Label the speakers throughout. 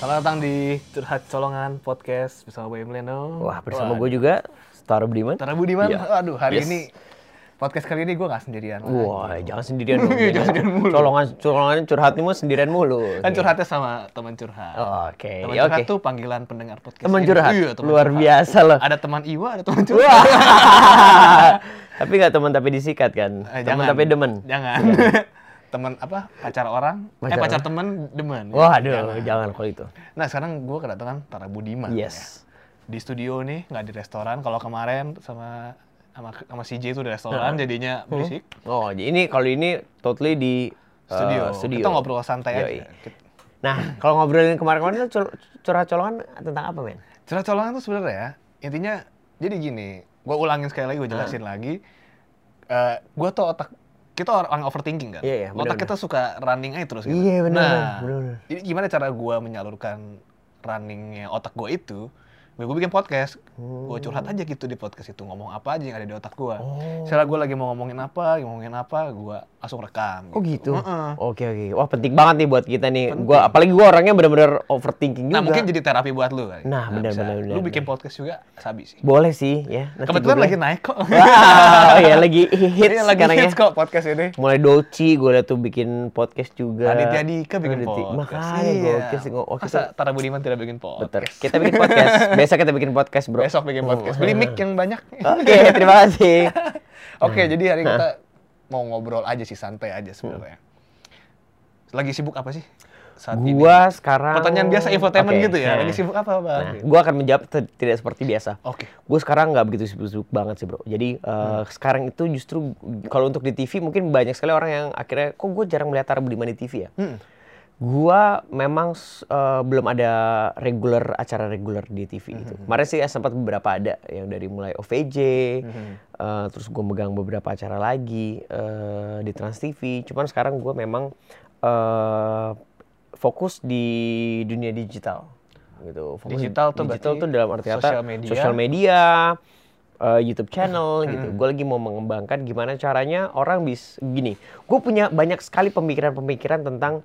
Speaker 1: Selamat datang di Curhat Colongan Podcast bersama gue Emiliano.
Speaker 2: Wah, bersama gue juga, Star Budiman.
Speaker 1: Tara Budiman.
Speaker 2: Iya.
Speaker 1: Aduh, hari
Speaker 2: Yes.
Speaker 1: ini podcast kali ini gue gak sendirian.
Speaker 2: Wah, jangan sendirian dong. jangan sendirian mulu. Colongan, colongan curhatmu sendirian mulu.
Speaker 1: Kan curhatnya sama teman curhat.
Speaker 2: Oke,
Speaker 1: Teman
Speaker 2: iya. Oh, oke.
Speaker 1: curhat tuh panggilan pendengar podcast.
Speaker 2: Teman
Speaker 1: ini.
Speaker 2: curhat.
Speaker 1: Iya, teman
Speaker 2: Luar
Speaker 1: curhat.
Speaker 2: biasa loh.
Speaker 1: Ada teman Iwa, ada teman curhat.
Speaker 2: Wah. tapi nggak teman tapi disikat kan?
Speaker 1: Eh,
Speaker 2: teman tapi demen. Iya.
Speaker 1: Jangan. teman apa? Pacar orang? eh,
Speaker 2: Pacar
Speaker 1: pacar teman demen.
Speaker 2: Wah, aduh, jangan,
Speaker 1: Jangan.
Speaker 2: kalau itu.
Speaker 1: Nah, sekarang gue kedatangan Tara Budiman. ya.
Speaker 2: Yes.
Speaker 1: Di studio nih, nggak di restoran. Kalau kemarin sama sama sama CJ itu di restoran jadinya berisik.
Speaker 2: Oh, jadi ini kalau ini totally di eh,
Speaker 1: studio.
Speaker 2: studio.
Speaker 1: Kita ngobrol santai
Speaker 2: Yoi.
Speaker 1: aja. Kita-
Speaker 2: Nah, kalau ngobrolin kemarin-kemarin tuh cur- curhat colongan tentang apa, men?
Speaker 1: Colong-colongan tuh sebenarnya ya, intinya jadi gini, gua ulangin sekali lagi,
Speaker 2: Ah.
Speaker 1: gua jelasin lagi. Eh gua tuh otak kita orang overthinking kan.
Speaker 2: Iya, iya,
Speaker 1: otak
Speaker 2: benar-benar.
Speaker 1: kita suka running aja terus gitu.
Speaker 2: Iya, benar,
Speaker 1: Nah,
Speaker 2: benar-benar.
Speaker 1: jadi gimana cara gua menyalurkan runningnya otak gua itu? Gue bikin podcast, gua curhat aja gitu di podcast itu ngomong apa aja yang ada di otak gua.
Speaker 2: Oh.
Speaker 1: Misalnya gua lagi mau ngomongin apa, ngomongin apa, gua langsung rekam.
Speaker 2: Oh gitu.
Speaker 1: Heeh.
Speaker 2: Oke oke. Wah penting banget nih buat kita nih. Gua apalagi gua orangnya bener-bener overthinking
Speaker 1: Nah
Speaker 2: juga.
Speaker 1: mungkin jadi terapi buat lu kali.
Speaker 2: Nah, benar,
Speaker 1: bisa.
Speaker 2: benar, benar,
Speaker 1: Lu bikin podcast juga sabi sih.
Speaker 2: Boleh sih ya. Nanti
Speaker 1: Kebetulan
Speaker 2: gua
Speaker 1: lagi
Speaker 2: bilang.
Speaker 1: naik kok.
Speaker 2: Wah, ya lagi hits
Speaker 1: Iya, lagi
Speaker 2: sekarang
Speaker 1: hits
Speaker 2: ya.
Speaker 1: kok podcast ini.
Speaker 2: Mulai Doci, gue liat tuh bikin podcast juga.
Speaker 1: Aditya Dika bikin
Speaker 2: Aditya-
Speaker 1: podcast.
Speaker 2: Makanya
Speaker 1: Iya.
Speaker 2: gue podcast. Gua, oh, kita,
Speaker 1: Masa Tara Budiman tidak bikin
Speaker 2: betul.
Speaker 1: podcast?
Speaker 2: Kita bikin podcast. Besok kita bikin podcast bro. Oh.
Speaker 1: Besok bikin podcast. Beli mic yang banyak.
Speaker 2: Oke, terima kasih.
Speaker 1: Oke,
Speaker 2: Hmm.
Speaker 1: jadi hari kita mau ngobrol aja sih, santai aja sebenarnya. Lagi sibuk apa sih? Saat ini?
Speaker 2: Gua sekarang.
Speaker 1: Pertanyaan biasa infotainment
Speaker 2: Oke,
Speaker 1: gitu ya.
Speaker 2: nah.
Speaker 1: Lagi sibuk apa, Bang?
Speaker 2: Nah, gue akan menjawab t- tidak seperti biasa.
Speaker 1: Oke.
Speaker 2: Gue sekarang nggak begitu sibuk banget sih bro. Jadi eh, sekarang itu justru kalau untuk di TV mungkin banyak sekali orang yang akhirnya kok gue jarang melihat Tara Budiman di TV ya.
Speaker 1: Hmm.
Speaker 2: Gue memang s- eh, belum ada regular acara reguler di TV gitu. Kemarin sih sempat beberapa ada yang dari mulai OVJ, eh, terus gue megang beberapa acara lagi eh, di Trans TV. Cuman sekarang gue memang eh, fokus di dunia digital gitu. Fokus
Speaker 1: Digital tuh
Speaker 2: digital
Speaker 1: berarti
Speaker 2: tuh dalam arti kata
Speaker 1: sosial media. Hmm.
Speaker 2: sosial media, eh, YouTube channel gitu. Gue lagi mau mengembangkan gimana caranya orang bisa gini. Gue punya banyak sekali pemikiran-pemikiran tentang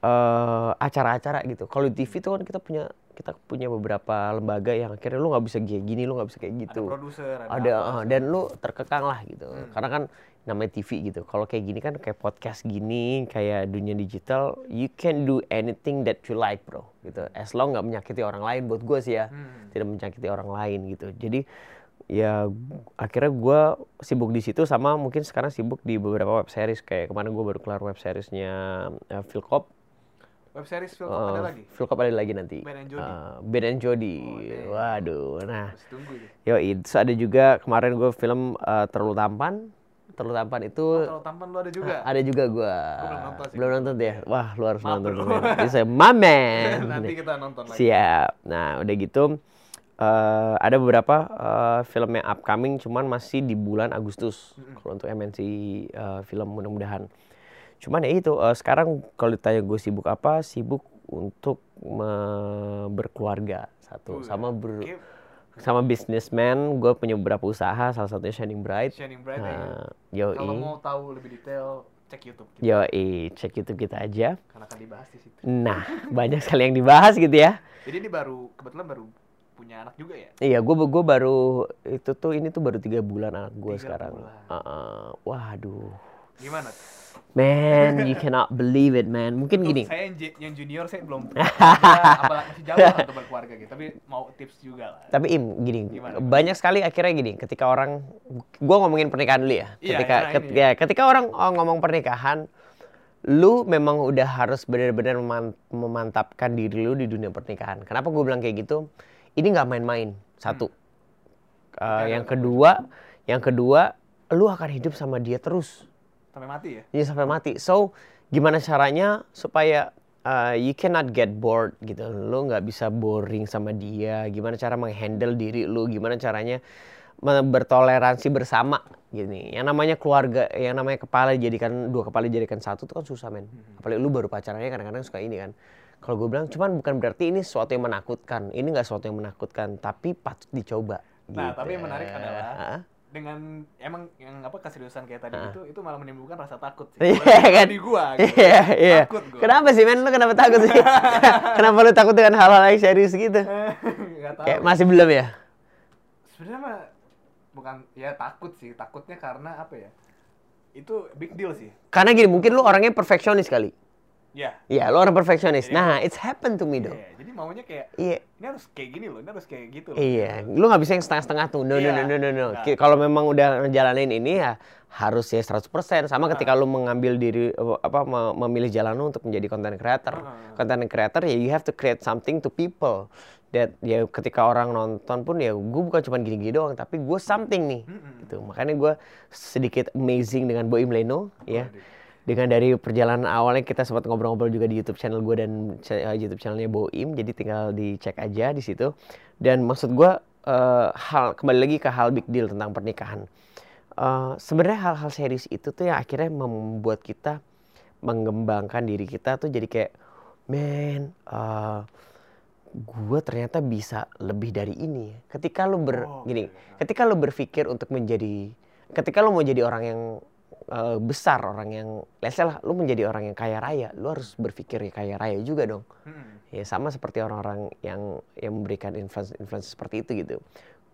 Speaker 2: eh, acara-acara gitu. Kalau di TV tuh kan kita punya kita punya beberapa lembaga yang akhirnya lu nggak bisa kayak gini, lu nggak bisa kayak gitu. Ada produser, ada, eh, dan lu terkekang lah gitu.
Speaker 3: Hmm.
Speaker 2: Karena kan namanya TV gitu. Kalau kayak gini kan kayak podcast gini, kayak dunia digital, you can do anything that you like, bro. Gitu. As long nggak menyakiti orang lain buat gue sih ya.
Speaker 3: Hmm.
Speaker 2: Tidak menyakiti orang lain gitu. Jadi ya akhirnya gue sibuk di situ sama mungkin sekarang sibuk di beberapa web series kayak kemarin gue baru kelar web seriesnya eh, Philcop
Speaker 3: Web series film
Speaker 2: Eh,
Speaker 3: ada lagi?
Speaker 2: Philcop ada lagi nanti.
Speaker 3: Ben and Jody. Oh,
Speaker 2: Eh, ben and Jody. Waduh. Nah,
Speaker 3: Masih tunggu ya. itu.
Speaker 2: yo itu ada juga kemarin gue film eh, Terlalu Tampan. Terlalu Tampan itu
Speaker 3: Kalau tampan lu ada juga.
Speaker 2: ada juga gue.
Speaker 3: belum nonton sih.
Speaker 2: Belum nonton ya? Wah, lu harus nonton. men. Jadi saya mamen.
Speaker 3: Nanti kita nonton lagi.
Speaker 2: Siap. Nah, udah gitu eh, ada beberapa eh, film yang upcoming cuman masih di bulan Agustus. Kalau untuk MNC eh, film mudah-mudahan. Cuman ya itu eh, sekarang kalau ditanya gue sibuk apa? Sibuk untuk me- berkeluarga satu sama ber-
Speaker 3: Oh, iya. Oke,
Speaker 2: sama bisnismen gue punya beberapa usaha salah satunya Shining Bright.
Speaker 3: Shining Bright ya.
Speaker 2: Nah, yoi. Iya.
Speaker 3: Kalau mau tahu lebih detail cek YouTube kita
Speaker 2: Yoi, cek YouTube kita aja.
Speaker 3: karena akan dibahas di situ.
Speaker 2: Nah, banyak sekali yang dibahas gitu ya.
Speaker 3: Jadi ini baru kebetulan baru punya anak juga ya.
Speaker 2: Iya, gue gue baru itu tuh ini tuh baru tiga bulan anak gue
Speaker 3: Tiga
Speaker 2: sekarang.
Speaker 3: bulan.
Speaker 2: Heeh. waduh,
Speaker 3: Gimana? tuh?
Speaker 2: man, you cannot believe it, man. Mungkin gini.
Speaker 3: Saya yang, ju- yang junior saya belum. ya, apalagi masih jauh lah untuk berkeluarga gitu. Tapi mau tips juga lah.
Speaker 2: Tapi im gini,
Speaker 3: Gimana?
Speaker 2: banyak sekali akhirnya gini. Ketika orang, gue ngomongin pernikahan dulu ya.
Speaker 3: Iya,
Speaker 2: Ketika
Speaker 3: karena
Speaker 2: ket-
Speaker 3: ini.
Speaker 2: ya, ketika orang oh, ngomong pernikahan, lu memang udah harus benar-benar meman- memantapkan diri lu di dunia pernikahan. Kenapa gue bilang kayak gitu? Ini nggak main-main. Satu.
Speaker 3: Hmm.
Speaker 2: Eh, yang kedua, yang kedua, lu akan hidup sama dia terus.
Speaker 3: Sampai mati ya.
Speaker 2: Iya sampai mati. So gimana caranya supaya uh, you cannot get bored gitu. Lo nggak bisa boring sama dia. Gimana cara menghandle diri lo? Gimana caranya me- bertoleransi bersama gini. Yang namanya keluarga, yang namanya kepala jadikan dua kepala jadikan satu itu kan susah men.
Speaker 3: Hmm.
Speaker 2: Apalagi lu baru pacarannya kadang-kadang suka ini kan. Kalau gue bilang cuman bukan berarti ini sesuatu yang menakutkan. Ini nggak sesuatu yang menakutkan, tapi patut dicoba.
Speaker 3: Nah,
Speaker 2: gitu.
Speaker 3: tapi yang menarik adalah
Speaker 2: Hah?
Speaker 3: dengan emang yang apa keseriusan kayak tadi
Speaker 2: Ah.
Speaker 3: itu itu malah menimbulkan rasa takut sih.
Speaker 2: Iya,
Speaker 3: Walaupun
Speaker 2: kan?
Speaker 3: Di gua. gitu.
Speaker 2: Iya, iya.
Speaker 3: Takut gua.
Speaker 2: Kenapa sih, men? Lu kenapa takut sih? kenapa lu takut dengan hal-hal yang serius gitu?
Speaker 3: Nggak tahu.
Speaker 2: Kayak masih belum ya?
Speaker 3: Sebenarnya mah bukan ya takut sih, takutnya karena apa ya? Itu big deal sih.
Speaker 2: Karena gini, mungkin lu orangnya perfeksionis kali.
Speaker 3: Ya.
Speaker 2: Iya, lu orang perfeksionis.
Speaker 3: Iya.
Speaker 2: Nah, it's happened to me though.
Speaker 3: Iya, jadi maunya kayak
Speaker 2: Iya.
Speaker 3: ini harus kayak gini loh, ini harus kayak gitu loh.
Speaker 2: Iya, lu nggak bisa yang setengah-setengah tuh. No, no, no,
Speaker 3: Iya.
Speaker 2: no, no, no.
Speaker 3: Nah.
Speaker 2: Ki- Kalau memang udah ngejalanin ini ya harus ya 100% sama ketika
Speaker 3: Nah.
Speaker 2: lu mengambil diri eh, apa me- memilih jalan lu untuk menjadi content creator.
Speaker 3: Ah.
Speaker 2: Content creator ya you have to create something to people that ya ketika orang nonton pun ya gue bukan cuma gini-gini doang tapi gue something nih
Speaker 3: Mm-mm.
Speaker 2: gitu. Makanya gue sedikit amazing dengan Boim Leno ya.
Speaker 3: Waduh.
Speaker 2: Dengan dari perjalanan awalnya kita sempat ngobrol-ngobrol juga di YouTube channel gue dan cha- eh, YouTube channelnya Boim, jadi tinggal dicek aja di situ. Dan maksud gue eh, hal kembali lagi ke hal big deal tentang pernikahan. Eh, Sebenarnya hal-hal serius itu tuh yang akhirnya membuat kita mengembangkan diri kita tuh jadi kayak, man, eh, gue ternyata bisa lebih dari ini. ya." Ketika lu ber,
Speaker 3: Oh,
Speaker 2: gini,
Speaker 3: iya.
Speaker 2: ketika lo berpikir untuk menjadi ketika lo mau jadi orang yang eh, besar orang yang let's say lah lo menjadi orang yang kaya raya lo harus berpikir ya kaya raya juga dong
Speaker 3: Mm-mm.
Speaker 2: ya sama seperti orang-orang yang yang memberikan influence influence seperti itu gitu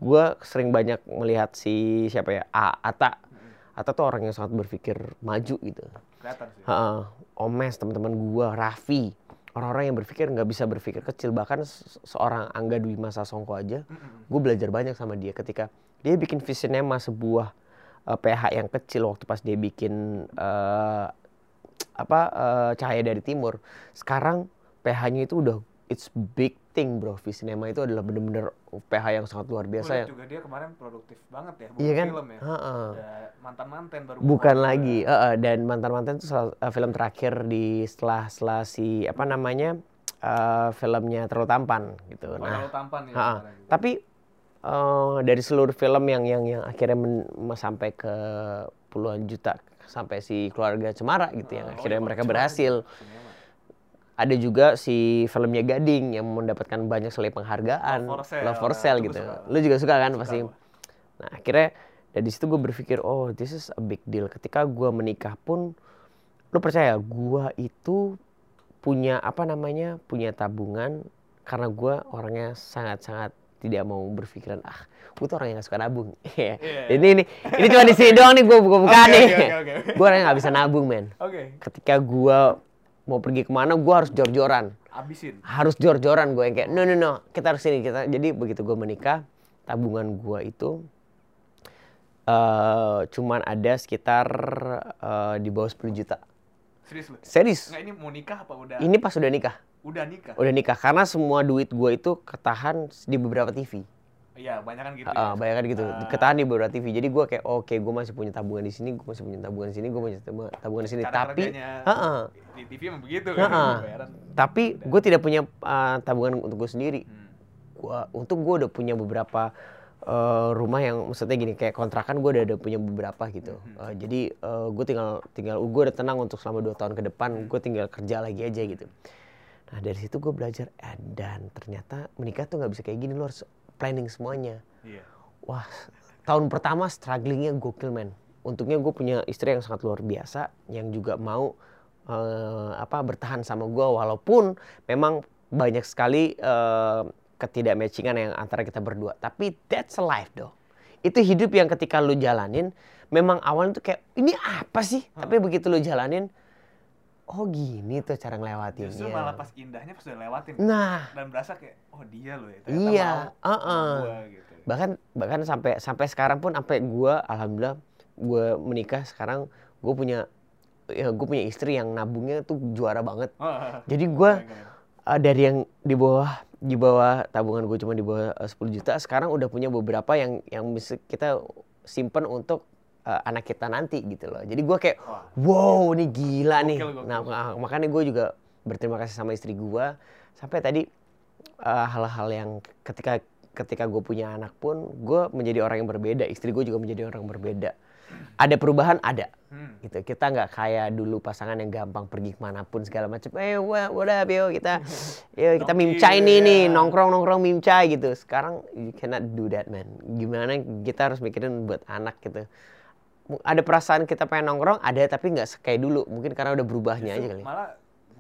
Speaker 2: gue sering banyak melihat si siapa ya A, Ata Ata tuh orang yang sangat berpikir maju gitu
Speaker 3: hmm. Kelihatan sih.
Speaker 2: Heeh, Omes teman-teman gua, Raffi, orang-orang yang berpikir nggak bisa berpikir kecil bahkan se- seorang Angga Dwi Masa Songko aja,
Speaker 3: Mm-mm.
Speaker 2: gue belajar banyak sama dia ketika dia bikin visinema sebuah eh, PH yang kecil waktu pas dia bikin eh, apa eh, Cahaya dari Timur. Sekarang PH-nya itu udah it's big thing bro, visinema itu adalah bener-bener PH yang sangat luar
Speaker 3: Gua
Speaker 2: biasa.
Speaker 3: liat
Speaker 2: yang-
Speaker 3: juga dia kemarin produktif banget ya, buat
Speaker 2: Iya kan?
Speaker 3: film ya.
Speaker 2: Heeh.
Speaker 3: Ada mantan-mantan baru
Speaker 2: Bukan
Speaker 3: keluar.
Speaker 2: lagi, eh, eh, dan mantan-mantan itu salah- eh, film terakhir di setelah setelah si apa namanya eh, filmnya terlalu tampan gitu.
Speaker 3: Oh,
Speaker 2: Nah,
Speaker 3: terlalu tampan ya.
Speaker 2: ha-ha.
Speaker 3: kemarin gitu.
Speaker 2: tapi eh, dari seluruh film yang yang yang akhirnya men- sampai ke puluhan juta sampai si keluarga Cemara gitu yang
Speaker 3: Oh,
Speaker 2: akhirnya
Speaker 3: iya,
Speaker 2: mereka
Speaker 3: cuma-
Speaker 2: berhasil.
Speaker 3: Cinema.
Speaker 2: Ada juga si filmnya Gading yang mendapatkan banyak sekali penghargaan,
Speaker 3: Love for Sale.
Speaker 2: Love for Sale
Speaker 3: Itu gua
Speaker 2: gitu.
Speaker 3: suka.
Speaker 2: Lu juga suka kan
Speaker 3: Suka
Speaker 2: pasti.
Speaker 3: gua.
Speaker 2: Nah akhirnya dari situ gue berpikir oh this is a big deal. Ketika gue menikah pun lu percaya gue itu punya apa namanya punya tabungan karena gue orangnya sangat-sangat tidak mau berpikiran ah gue tuh orang yang gak suka nabung.
Speaker 3: Iya.
Speaker 2: Ini ini ini cuma di sini doang nih gue buka bukaan
Speaker 3: Oke,
Speaker 2: nih.
Speaker 3: oke, oke, oke.
Speaker 2: Gue orangnya gak bisa nabung men.
Speaker 3: Oke,
Speaker 2: Ketika gue mau pergi kemana gue harus jor-joran
Speaker 3: abisin.
Speaker 2: harus jor-joran gue yang kayak no no no kita harus sini kita jadi begitu gue menikah tabungan gue itu eh cuman ada sekitar eh, di bawah 10 juta
Speaker 3: Serius lu?
Speaker 2: serius
Speaker 3: Enggak ini mau nikah apa udah?
Speaker 2: ini pas udah nikah
Speaker 3: Udah nikah.
Speaker 2: udah nikah karena semua duit gue itu ketahan di beberapa TV
Speaker 3: Iya, banyak kan gitu.
Speaker 2: Heeh,
Speaker 3: ya.
Speaker 2: bayangkan gitu
Speaker 3: Ah.
Speaker 2: ketahan di beberapa TV jadi gue kayak oke gue masih punya tabungan di sini gue masih punya tabungan di sini gue masih punya tabungan di sini
Speaker 3: Cara
Speaker 2: tapi
Speaker 3: kerjanya
Speaker 2: Heeh.
Speaker 3: di TV emang begitu
Speaker 2: Heeh.
Speaker 3: kan. Bayaran.
Speaker 2: tapi gue tidak punya eh, tabungan untuk gue sendiri
Speaker 3: Hmm.
Speaker 2: gua untung gue udah punya beberapa eh, rumah yang maksudnya gini kayak kontrakan gue udah ada punya beberapa gitu Eh, jadi gue tinggal tinggal gue udah tenang untuk selama dua tahun ke depan gue tinggal kerja lagi aja gitu nah dari situ gue belajar eh, dan ternyata menikah tuh nggak bisa kayak gini lo harus planning semuanya
Speaker 3: Iya.
Speaker 2: wah tahun pertama strugglingnya gokil men untungnya gue punya istri yang sangat luar biasa yang juga mau eh, apa bertahan sama gue walaupun memang banyak sekali eh, ketidakmatchingan yang antara kita berdua tapi that's a life dong itu hidup yang ketika lu jalanin memang awalnya tuh kayak ini apa sih
Speaker 3: Hmm.
Speaker 2: tapi begitu lu jalanin oh gini tuh cara ngelewatinnya
Speaker 3: Justru malah pas indahnya pas udah lewatin.
Speaker 2: Iya. nah
Speaker 3: Dan berasa kayak oh dia loh ya.
Speaker 2: Iya,
Speaker 3: Mau, sama
Speaker 2: heeh.
Speaker 3: gua gitu.
Speaker 2: bahkan bahkan sampai sampai sekarang pun sampai gue alhamdulillah gue menikah sekarang gue punya ya gue punya istri yang nabungnya tuh juara banget jadi gue dari yang di bawah di bawah tabungan gue cuma di bawah eh, 10 juta sekarang udah punya beberapa yang yang bisa kita simpen untuk eh, anak kita nanti gitu loh jadi gue kayak
Speaker 3: Wah.
Speaker 2: wow ini gila nih
Speaker 3: Gokil, gokil.
Speaker 2: nah mak- makanya gue juga berterima kasih sama istri gue sampai tadi eh, hal-hal yang ketika ketika gue punya anak pun gue menjadi orang yang berbeda istri gue juga menjadi orang berbeda ada perubahan ada
Speaker 1: Hmm.
Speaker 2: gitu kita nggak kayak dulu pasangan yang gampang pergi kemanapun segala macam eh wha- what up yo kita yo kita
Speaker 1: Nongki,
Speaker 2: mimcai nih
Speaker 1: ya.
Speaker 2: nih nongkrong nongkrong mimcai gitu sekarang you cannot do that man gimana kita harus mikirin buat anak gitu Mu- ada perasaan kita pengen nongkrong ada tapi nggak se- kayak dulu mungkin karena udah berubahnya aja
Speaker 1: Justru
Speaker 2: kali ya.
Speaker 1: Malah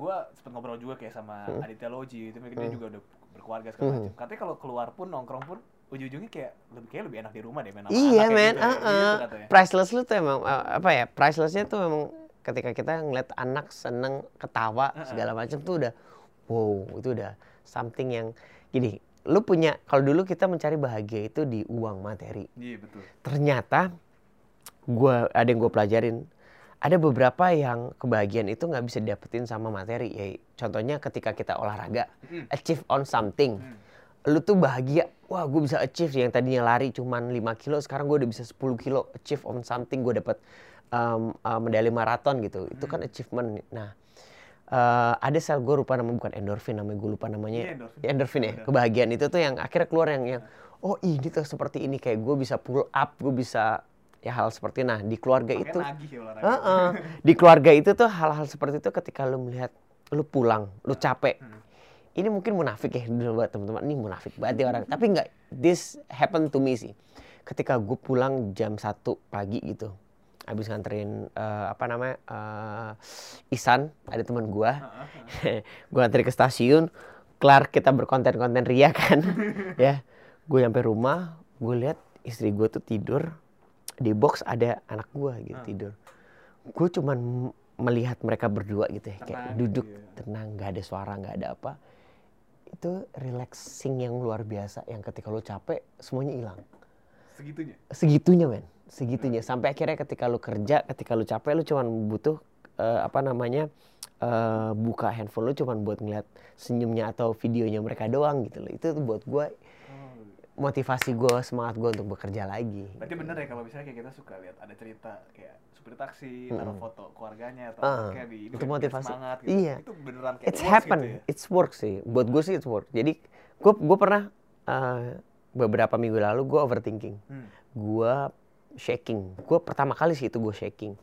Speaker 1: gue sempet ngobrol juga kayak sama Aditya Loji itu mungkin dia juga udah berkeluarga segala
Speaker 2: Hmm.
Speaker 1: macam. Katanya kalau keluar pun nongkrong pun ujung-ujungnya kayak lebih kayak lebih enak di rumah deh main sama
Speaker 2: Iya
Speaker 1: anak
Speaker 2: men,
Speaker 1: kayak gitu.
Speaker 2: uh-uh.
Speaker 1: Gitu katanya.
Speaker 2: priceless lu tuh emang uh, apa ya? Pricelessnya tuh emang ketika kita ngeliat anak seneng ketawa
Speaker 1: Uh-uh.
Speaker 2: segala macam tuh udah wow itu udah something yang gini. Lu punya kalau dulu kita mencari bahagia itu di uang materi.
Speaker 1: Iya betul.
Speaker 2: Ternyata gua ada yang gue pelajarin ada beberapa yang kebahagiaan itu nggak bisa didapetin sama materi. Ya, contohnya ketika kita olahraga,
Speaker 1: Mm.
Speaker 2: achieve on something
Speaker 1: Hmm.
Speaker 2: lu tuh bahagia wah gue bisa achieve yang tadinya lari cuman 5 kilo sekarang gue udah bisa 10 kilo achieve on something gue dapat um, uh, medali maraton gitu itu
Speaker 1: Hmm.
Speaker 2: kan achievement nah eh, ada sel gue lupa namanya bukan endorfin namanya gue lupa namanya
Speaker 1: Iya, endorfin.
Speaker 2: Ya, endorfin ya
Speaker 1: Ada. Nah.
Speaker 2: kebahagiaan itu tuh yang akhirnya keluar yang yang oh ini tuh seperti ini kayak gue bisa pull up gue bisa ya hal seperti nah di keluarga
Speaker 1: Makanya
Speaker 2: itu
Speaker 1: nagih ya olahraga.
Speaker 2: Heeh. Di keluarga itu tuh hal-hal seperti itu ketika lu melihat lu pulang, lu capek.
Speaker 1: Hmm.
Speaker 2: Ini mungkin munafik ya dulu buat teman-teman. Ini munafik banget ya orang. Tapi nggak, this happen to me sih. Ketika gue pulang jam 1 pagi gitu. Habis nganterin eh, apa namanya? eh, Isan, ada teman gua
Speaker 1: Heeh.
Speaker 2: gue antri ke stasiun kelar kita berkonten-konten ria kan ya gue nyampe rumah gue lihat istri gue tuh tidur di box ada anak gue gitu
Speaker 1: Hmm.
Speaker 2: tidur gue cuman m- melihat mereka berdua gitu ya kayak
Speaker 1: Tenang,
Speaker 2: duduk
Speaker 1: iya.
Speaker 2: tenang nggak ada suara nggak ada apa itu relaxing yang luar biasa yang ketika lo capek semuanya hilang
Speaker 1: Segitunya.
Speaker 2: segitunya men segitunya sampai akhirnya ketika lu kerja ketika lu capek lu cuman butuh eh, apa namanya eh, buka handphone lu cuman buat ngeliat senyumnya atau videonya mereka doang gitu loh itu tuh buat gua
Speaker 1: Oh.
Speaker 2: motivasi gua semangat gua untuk bekerja lagi
Speaker 1: Berarti
Speaker 2: gitu.
Speaker 1: bener ya kalau misalnya kayak kita suka lihat ada cerita kayak supir taksi taruh foto keluarganya atau
Speaker 2: Ah,
Speaker 1: kayak di ini biar-
Speaker 2: untuk
Speaker 1: biar
Speaker 2: Hmm. motivasi.
Speaker 1: semangat gitu.
Speaker 2: Iya.
Speaker 1: Itu beneran kayak
Speaker 2: it's
Speaker 1: works
Speaker 2: happen
Speaker 1: gitu ya.
Speaker 2: it's work sih buat gua sih it's work jadi gua gua pernah eh, beberapa minggu lalu gua overthinking
Speaker 1: Hmm.
Speaker 2: gua shaking. Gua pertama kali sih itu gue shaking.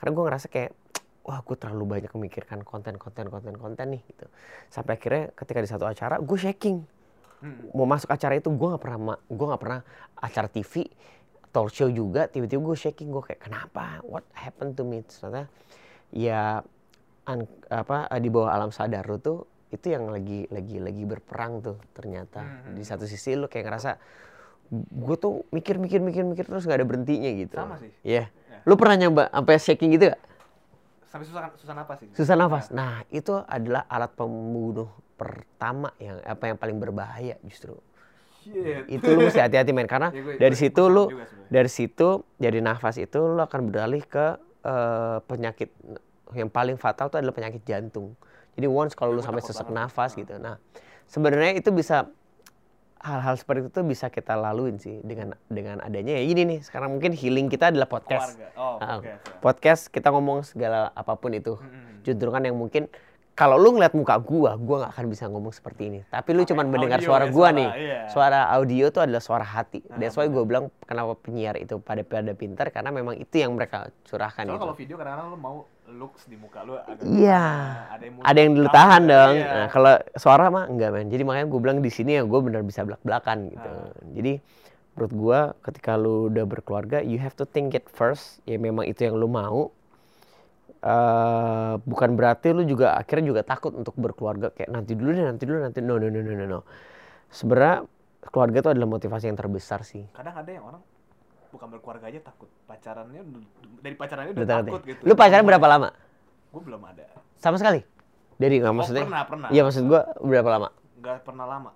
Speaker 2: Karena gua ngerasa kayak, wah gue terlalu banyak memikirkan konten, konten, konten, konten nih gitu. Sampai akhirnya ketika di satu acara, gue shaking.
Speaker 1: Hmm.
Speaker 2: Mau masuk acara itu gue nggak pernah, ma- gua nggak pernah acara TV, talk show juga. Tiba-tiba gue shaking, gue kayak kenapa? What happened to me? Ternyata ya an- apa di bawah alam sadar lu tuh itu yang lagi lagi lagi berperang tuh ternyata
Speaker 1: Hmm.
Speaker 2: di satu sisi lu kayak ngerasa gue tuh mikir mikir mikir mikir terus nggak ada berhentinya gitu
Speaker 1: Sama sih.
Speaker 2: Iya.
Speaker 1: Ya.
Speaker 2: lu pernah nyoba sampai shaking gitu gak?
Speaker 1: Sampai susah susah napas sih.
Speaker 2: susah
Speaker 1: Ya.
Speaker 2: nafas nah itu adalah alat pembunuh pertama yang apa yang paling berbahaya justru
Speaker 1: Shit.
Speaker 2: itu lu mesti hati-hati men karena
Speaker 1: Ya, gue-
Speaker 2: dari
Speaker 1: gue-
Speaker 2: situ
Speaker 1: gue
Speaker 2: lu
Speaker 1: sama juga sebenarnya.
Speaker 2: dari situ dari nafas itu lu akan beralih ke eh, penyakit yang paling fatal itu adalah penyakit jantung jadi once
Speaker 1: Ya,
Speaker 2: kalau lu
Speaker 1: gue
Speaker 2: sampai
Speaker 1: takut
Speaker 2: sesak
Speaker 1: banget.
Speaker 2: nafas
Speaker 1: Ah.
Speaker 2: gitu nah sebenarnya itu bisa hal-hal seperti itu bisa kita laluin sih dengan dengan adanya ya ini nih sekarang mungkin healing kita adalah podcast
Speaker 1: Keluarga. Oh,
Speaker 2: Ah,
Speaker 1: oke.
Speaker 2: podcast kita ngomong segala apapun itu
Speaker 1: Mm-mm.
Speaker 2: juntrungan yang mungkin kalau lu ngeliat muka gua, gua nggak akan bisa ngomong seperti ini. Tapi lu
Speaker 1: Sampai
Speaker 2: cuman mendengar
Speaker 1: audio
Speaker 2: suara
Speaker 1: ya,
Speaker 2: gua
Speaker 1: suara,
Speaker 2: nih.
Speaker 1: iya.
Speaker 2: Suara audio itu adalah suara hati.
Speaker 1: Nah,
Speaker 2: That's why gua bilang kenapa penyiar itu pada pada pintar karena memang itu yang mereka curahkan
Speaker 1: Soalnya
Speaker 2: gitu.
Speaker 1: kalau video kadang-kadang lu mau looks di muka lu agak nah,
Speaker 2: Iya.
Speaker 1: ada yang,
Speaker 2: Ada yang
Speaker 1: mulut
Speaker 2: lu
Speaker 1: kamu,
Speaker 2: tahan
Speaker 1: ada-
Speaker 2: dong.
Speaker 1: iya.
Speaker 2: Nah, kalau suara mah enggak men. Jadi makanya gua bilang di sini ya gua benar bisa belak-belakan gitu.
Speaker 1: Ah.
Speaker 2: Jadi menurut gua ketika lu udah berkeluarga, you have to think it first. Ya memang itu yang lu mau. eh bukan berarti lu juga akhirnya juga takut untuk berkeluarga kayak nanti dulu deh nanti dulu nanti no no no no no no sebenarnya keluarga itu adalah motivasi yang terbesar sih
Speaker 1: kadang ada yang orang bukan berkeluarga aja takut pacarannya udah- dari pacarannya udah
Speaker 2: Betul, betul.
Speaker 1: takut gitu
Speaker 2: lu pacaran berapa lama
Speaker 1: gue belum ada
Speaker 2: sama sekali dari nggak
Speaker 1: oh,
Speaker 2: maksudnya
Speaker 1: pernah pernah
Speaker 2: iya maksud gua berapa lama
Speaker 1: nggak pernah lama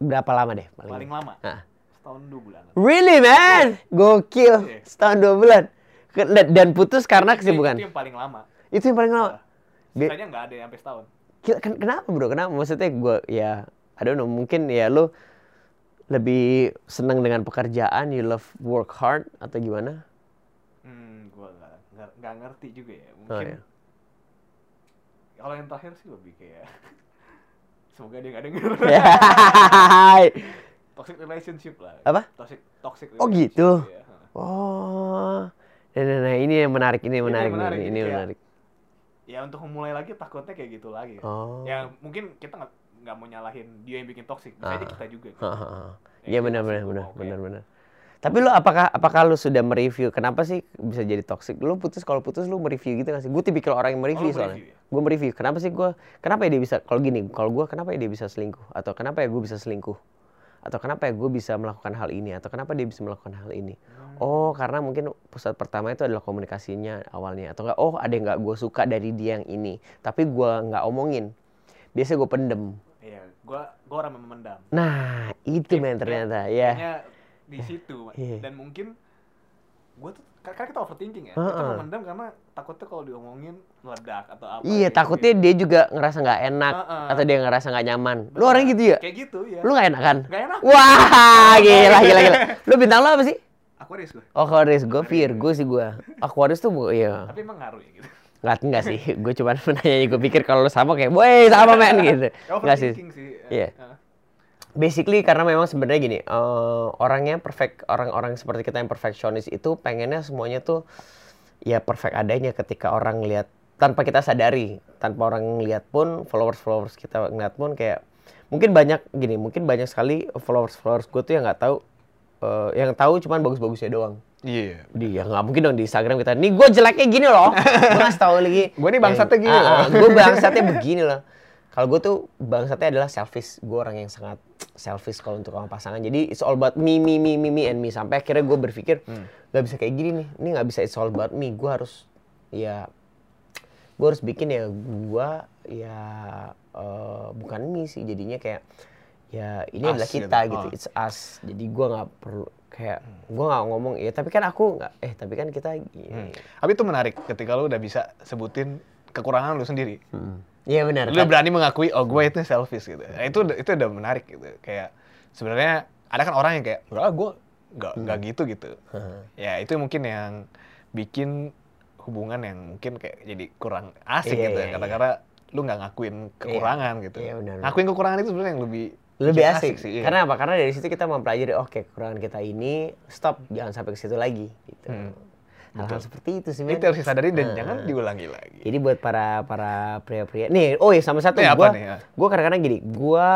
Speaker 2: berapa lama deh paling,
Speaker 1: paling lama
Speaker 2: Nah.
Speaker 1: setahun dua bulanan
Speaker 2: really man
Speaker 1: Iya. Iya,
Speaker 2: gokil setahun dua bulan Ke- dan- dan putus karena
Speaker 1: Itu-
Speaker 2: kesibukan
Speaker 1: itu yang paling lama
Speaker 2: itu yang paling
Speaker 1: Iya.
Speaker 2: lama Bi-
Speaker 1: Sisanya nggak ada yang sampai setahun
Speaker 2: Gila, ken- kenapa bro? Kenapa? Maksudnya gue ya, I don't know, mungkin ya lo lebih seneng dengan pekerjaan, you love work hard atau gimana?
Speaker 1: hmm gue nggak nggak- nggak ngerti juga ya mungkin
Speaker 2: iya.
Speaker 1: kalau yang
Speaker 2: Iya.
Speaker 1: terakhir sih lebih kayak semoga dia nggak denger
Speaker 2: Hai.
Speaker 3: toxic relationship lah.
Speaker 2: Apa?
Speaker 3: Toxic toxic
Speaker 2: Oh,
Speaker 3: relationship,
Speaker 2: gitu.
Speaker 3: iya.
Speaker 2: Oh. Nah, nah, nah, ini yang menarik, ini yang
Speaker 3: Ini
Speaker 2: menarik,
Speaker 3: yang
Speaker 2: ini,
Speaker 3: menarik,
Speaker 1: iya.
Speaker 2: ini, ini
Speaker 3: kayak-
Speaker 2: menarik.
Speaker 3: Ya untuk memulai lagi takutnya kayak gitu lagi.
Speaker 2: Oh.
Speaker 3: Ya mungkin kita nggak nggak mau nyalahin dia yang bikin toxic, bisa aja
Speaker 2: Ah.
Speaker 3: kita juga.
Speaker 2: Hahaha.
Speaker 3: Ya,
Speaker 2: Iya
Speaker 3: itu
Speaker 2: benar
Speaker 3: maksud
Speaker 2: benar
Speaker 3: gua,
Speaker 2: benar
Speaker 3: oke.
Speaker 2: benar benar. Tapi lu apakah apakah lu sudah mereview? Kenapa sih bisa jadi toxic? Lu putus kalau putus lu mereview gitu nggak sih? Gue tipikal orang yang mereview
Speaker 3: Oh, lu
Speaker 2: soalnya.
Speaker 3: mereview ya?
Speaker 2: Gue mereview. Kenapa sih gue? Kenapa ya dia bisa? Kalau gini, kalau gue kenapa ya dia bisa selingkuh? Atau kenapa ya gue bisa selingkuh? Atau kenapa ya gue bisa melakukan hal ini? Atau kenapa dia bisa melakukan hal ini?
Speaker 3: Hmm.
Speaker 2: Oh karena mungkin pusat pertama itu adalah komunikasinya awalnya. Atau enggak? Oh ada yang nggak gue suka dari dia yang ini. Tapi gue nggak omongin. Biasanya gue pendem.
Speaker 3: Iya, gua gua orang yang memendam.
Speaker 2: Nah
Speaker 3: Iya,
Speaker 2: itu men ternyata ya.
Speaker 3: Kayaknya di situ Mak.
Speaker 2: Iya.
Speaker 3: dan mungkin gua tuh karena kita overthinking ya. Kita
Speaker 2: Heeh.
Speaker 3: memendam karena takutnya kalau diomongin meledak atau apa.
Speaker 2: Iya,
Speaker 3: gitu.
Speaker 2: takutnya dia juga ngerasa nggak enak
Speaker 3: Heeh.
Speaker 2: atau dia ngerasa nggak nyaman. Lu orang gitu ya?
Speaker 3: Kayak gitu ya.
Speaker 2: Lu nggak enakan?
Speaker 3: Nggak enak.
Speaker 2: Wah, gila gila gila. Lu bintang lu apa sih?
Speaker 3: Aquarius gue.
Speaker 2: Oh, Aquarius, gue Virgo sih gue. Aquarius tuh gue, iya.
Speaker 3: Tapi emang ngaruh ya gitu.
Speaker 2: Nggak, enggak sih, gue cuma menanya, gue pikir kalau lu sama kayak, woi sama men, gitu. Nggak sih.
Speaker 3: Overthinking sih. eh,
Speaker 2: Iya.
Speaker 3: Heeh.
Speaker 2: Basically karena memang sebenarnya gini, eh, orangnya perfect, orang-orang seperti kita yang perfeksionis itu pengennya semuanya tuh ya perfect adanya ketika orang lihat tanpa kita sadari, tanpa orang lihat pun followers-followers kita ngeliat pun kayak mungkin banyak gini, mungkin banyak sekali followers-followers gue tuh yang nggak tahu eh, yang tahu cuman bagus-bagusnya doang.
Speaker 1: Iya.
Speaker 2: Dia nggak mungkin dong di Instagram kita. Nih gue jeleknya gini loh. gue ngasih tahu lagi.
Speaker 1: Gua nih bangsatnya gini loh."
Speaker 2: gue bangsatnya begini loh. Kalau gue tuh bangsatnya adalah selfish. Gue orang yang sangat selfish kalau untuk orang pasangan. Jadi it's all about me, me, me, me, me, and me. Sampai akhirnya gue berpikir
Speaker 1: Hmm.
Speaker 2: nggak bisa kayak gini nih. Ini nggak bisa it's all about me. Gue harus ya gue harus bikin ya gue ya eh, bukan mie sih jadinya kayak ya ini
Speaker 1: Us
Speaker 2: adalah
Speaker 1: gitu.
Speaker 2: kita gitu
Speaker 1: Oh.
Speaker 2: it's us jadi gue nggak perlu kayak gue nggak ngomong ya tapi kan aku nggak eh tapi kan kita
Speaker 1: Hmm. Tapi itu menarik ketika lu udah bisa sebutin kekurangan lu sendiri.
Speaker 2: Iya benar
Speaker 1: Lu udah berani mengakui oh gue itu selfish gitu. Nah, itu itu udah menarik gitu. Kayak sebenarnya ada kan orang yang kayak, "Bro, gue nggak
Speaker 2: Hmm.
Speaker 1: nggak gitu gitu." Ya, itu mungkin yang bikin hubungan yang mungkin kayak jadi kurang asik
Speaker 2: Iya,
Speaker 1: gitu.
Speaker 2: iya,
Speaker 1: karena karena lu nggak ngakuin kekurangan gitu.
Speaker 2: Iya, benar, benar.
Speaker 1: Ngakuin kekurangan itu sebenarnya yang lebih
Speaker 2: lebih
Speaker 1: bikin
Speaker 2: asik,
Speaker 1: sih. iya.
Speaker 2: karena apa karena dari situ kita mempelajari oke kekurangan kita ini stop jangan sampai ke situ lagi gitu hal-hal seperti itu sih men.
Speaker 1: Hmm. itu harus disadari dan
Speaker 2: Hmm.
Speaker 1: jangan diulangi lagi.
Speaker 2: Jadi buat para para pria-pria. Nih, oh ya sama satu
Speaker 1: Nih, apa
Speaker 2: gua
Speaker 1: nih, ya?
Speaker 2: gua kadang-kadang gini, gua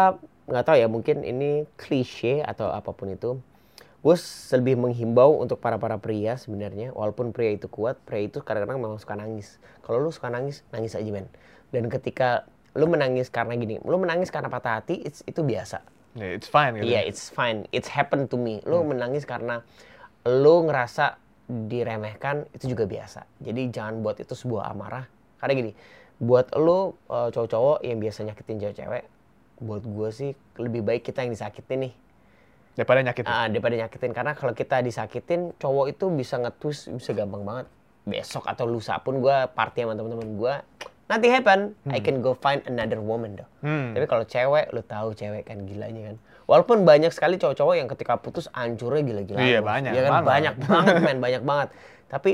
Speaker 2: nggak tahu ya mungkin ini klise atau apapun itu. Gue lebih menghimbau untuk para-para pria sebenarnya, walaupun pria itu kuat, pria itu kadang-kadang memang suka nangis. Kalau lu suka nangis, nangis aja, men. Dan ketika lu menangis karena gini, lu menangis karena patah hati, it's- itu biasa.
Speaker 1: Ya, it's fine gitu.
Speaker 2: Iya, it's fine. It's happened to me. Lu menangis karena lu ngerasa diremehkan itu juga biasa. Jadi jangan buat itu sebuah amarah. Karena gini, buat lu eh, cowok-cowok yang biasa nyakitin cewek-cewek, buat gue sih lebih baik kita yang disakitin nih.
Speaker 1: Daripada nyakitin.
Speaker 2: Ah, daripada nyakitin karena kalau kita disakitin cowok itu bisa ngetus bisa gampang banget besok atau lusa pun gue party sama teman-teman gue nanti happen I can go find another woman dong
Speaker 1: Hmm.
Speaker 2: tapi kalau cewek lu tahu cewek kan gilanya kan walaupun banyak sekali cowok-cowok yang ketika putus hancurnya gila-gilaan
Speaker 1: Iya,
Speaker 2: Bos.
Speaker 1: banyak
Speaker 2: Iya kan
Speaker 1: banget.
Speaker 2: banyak banget men banyak banget tapi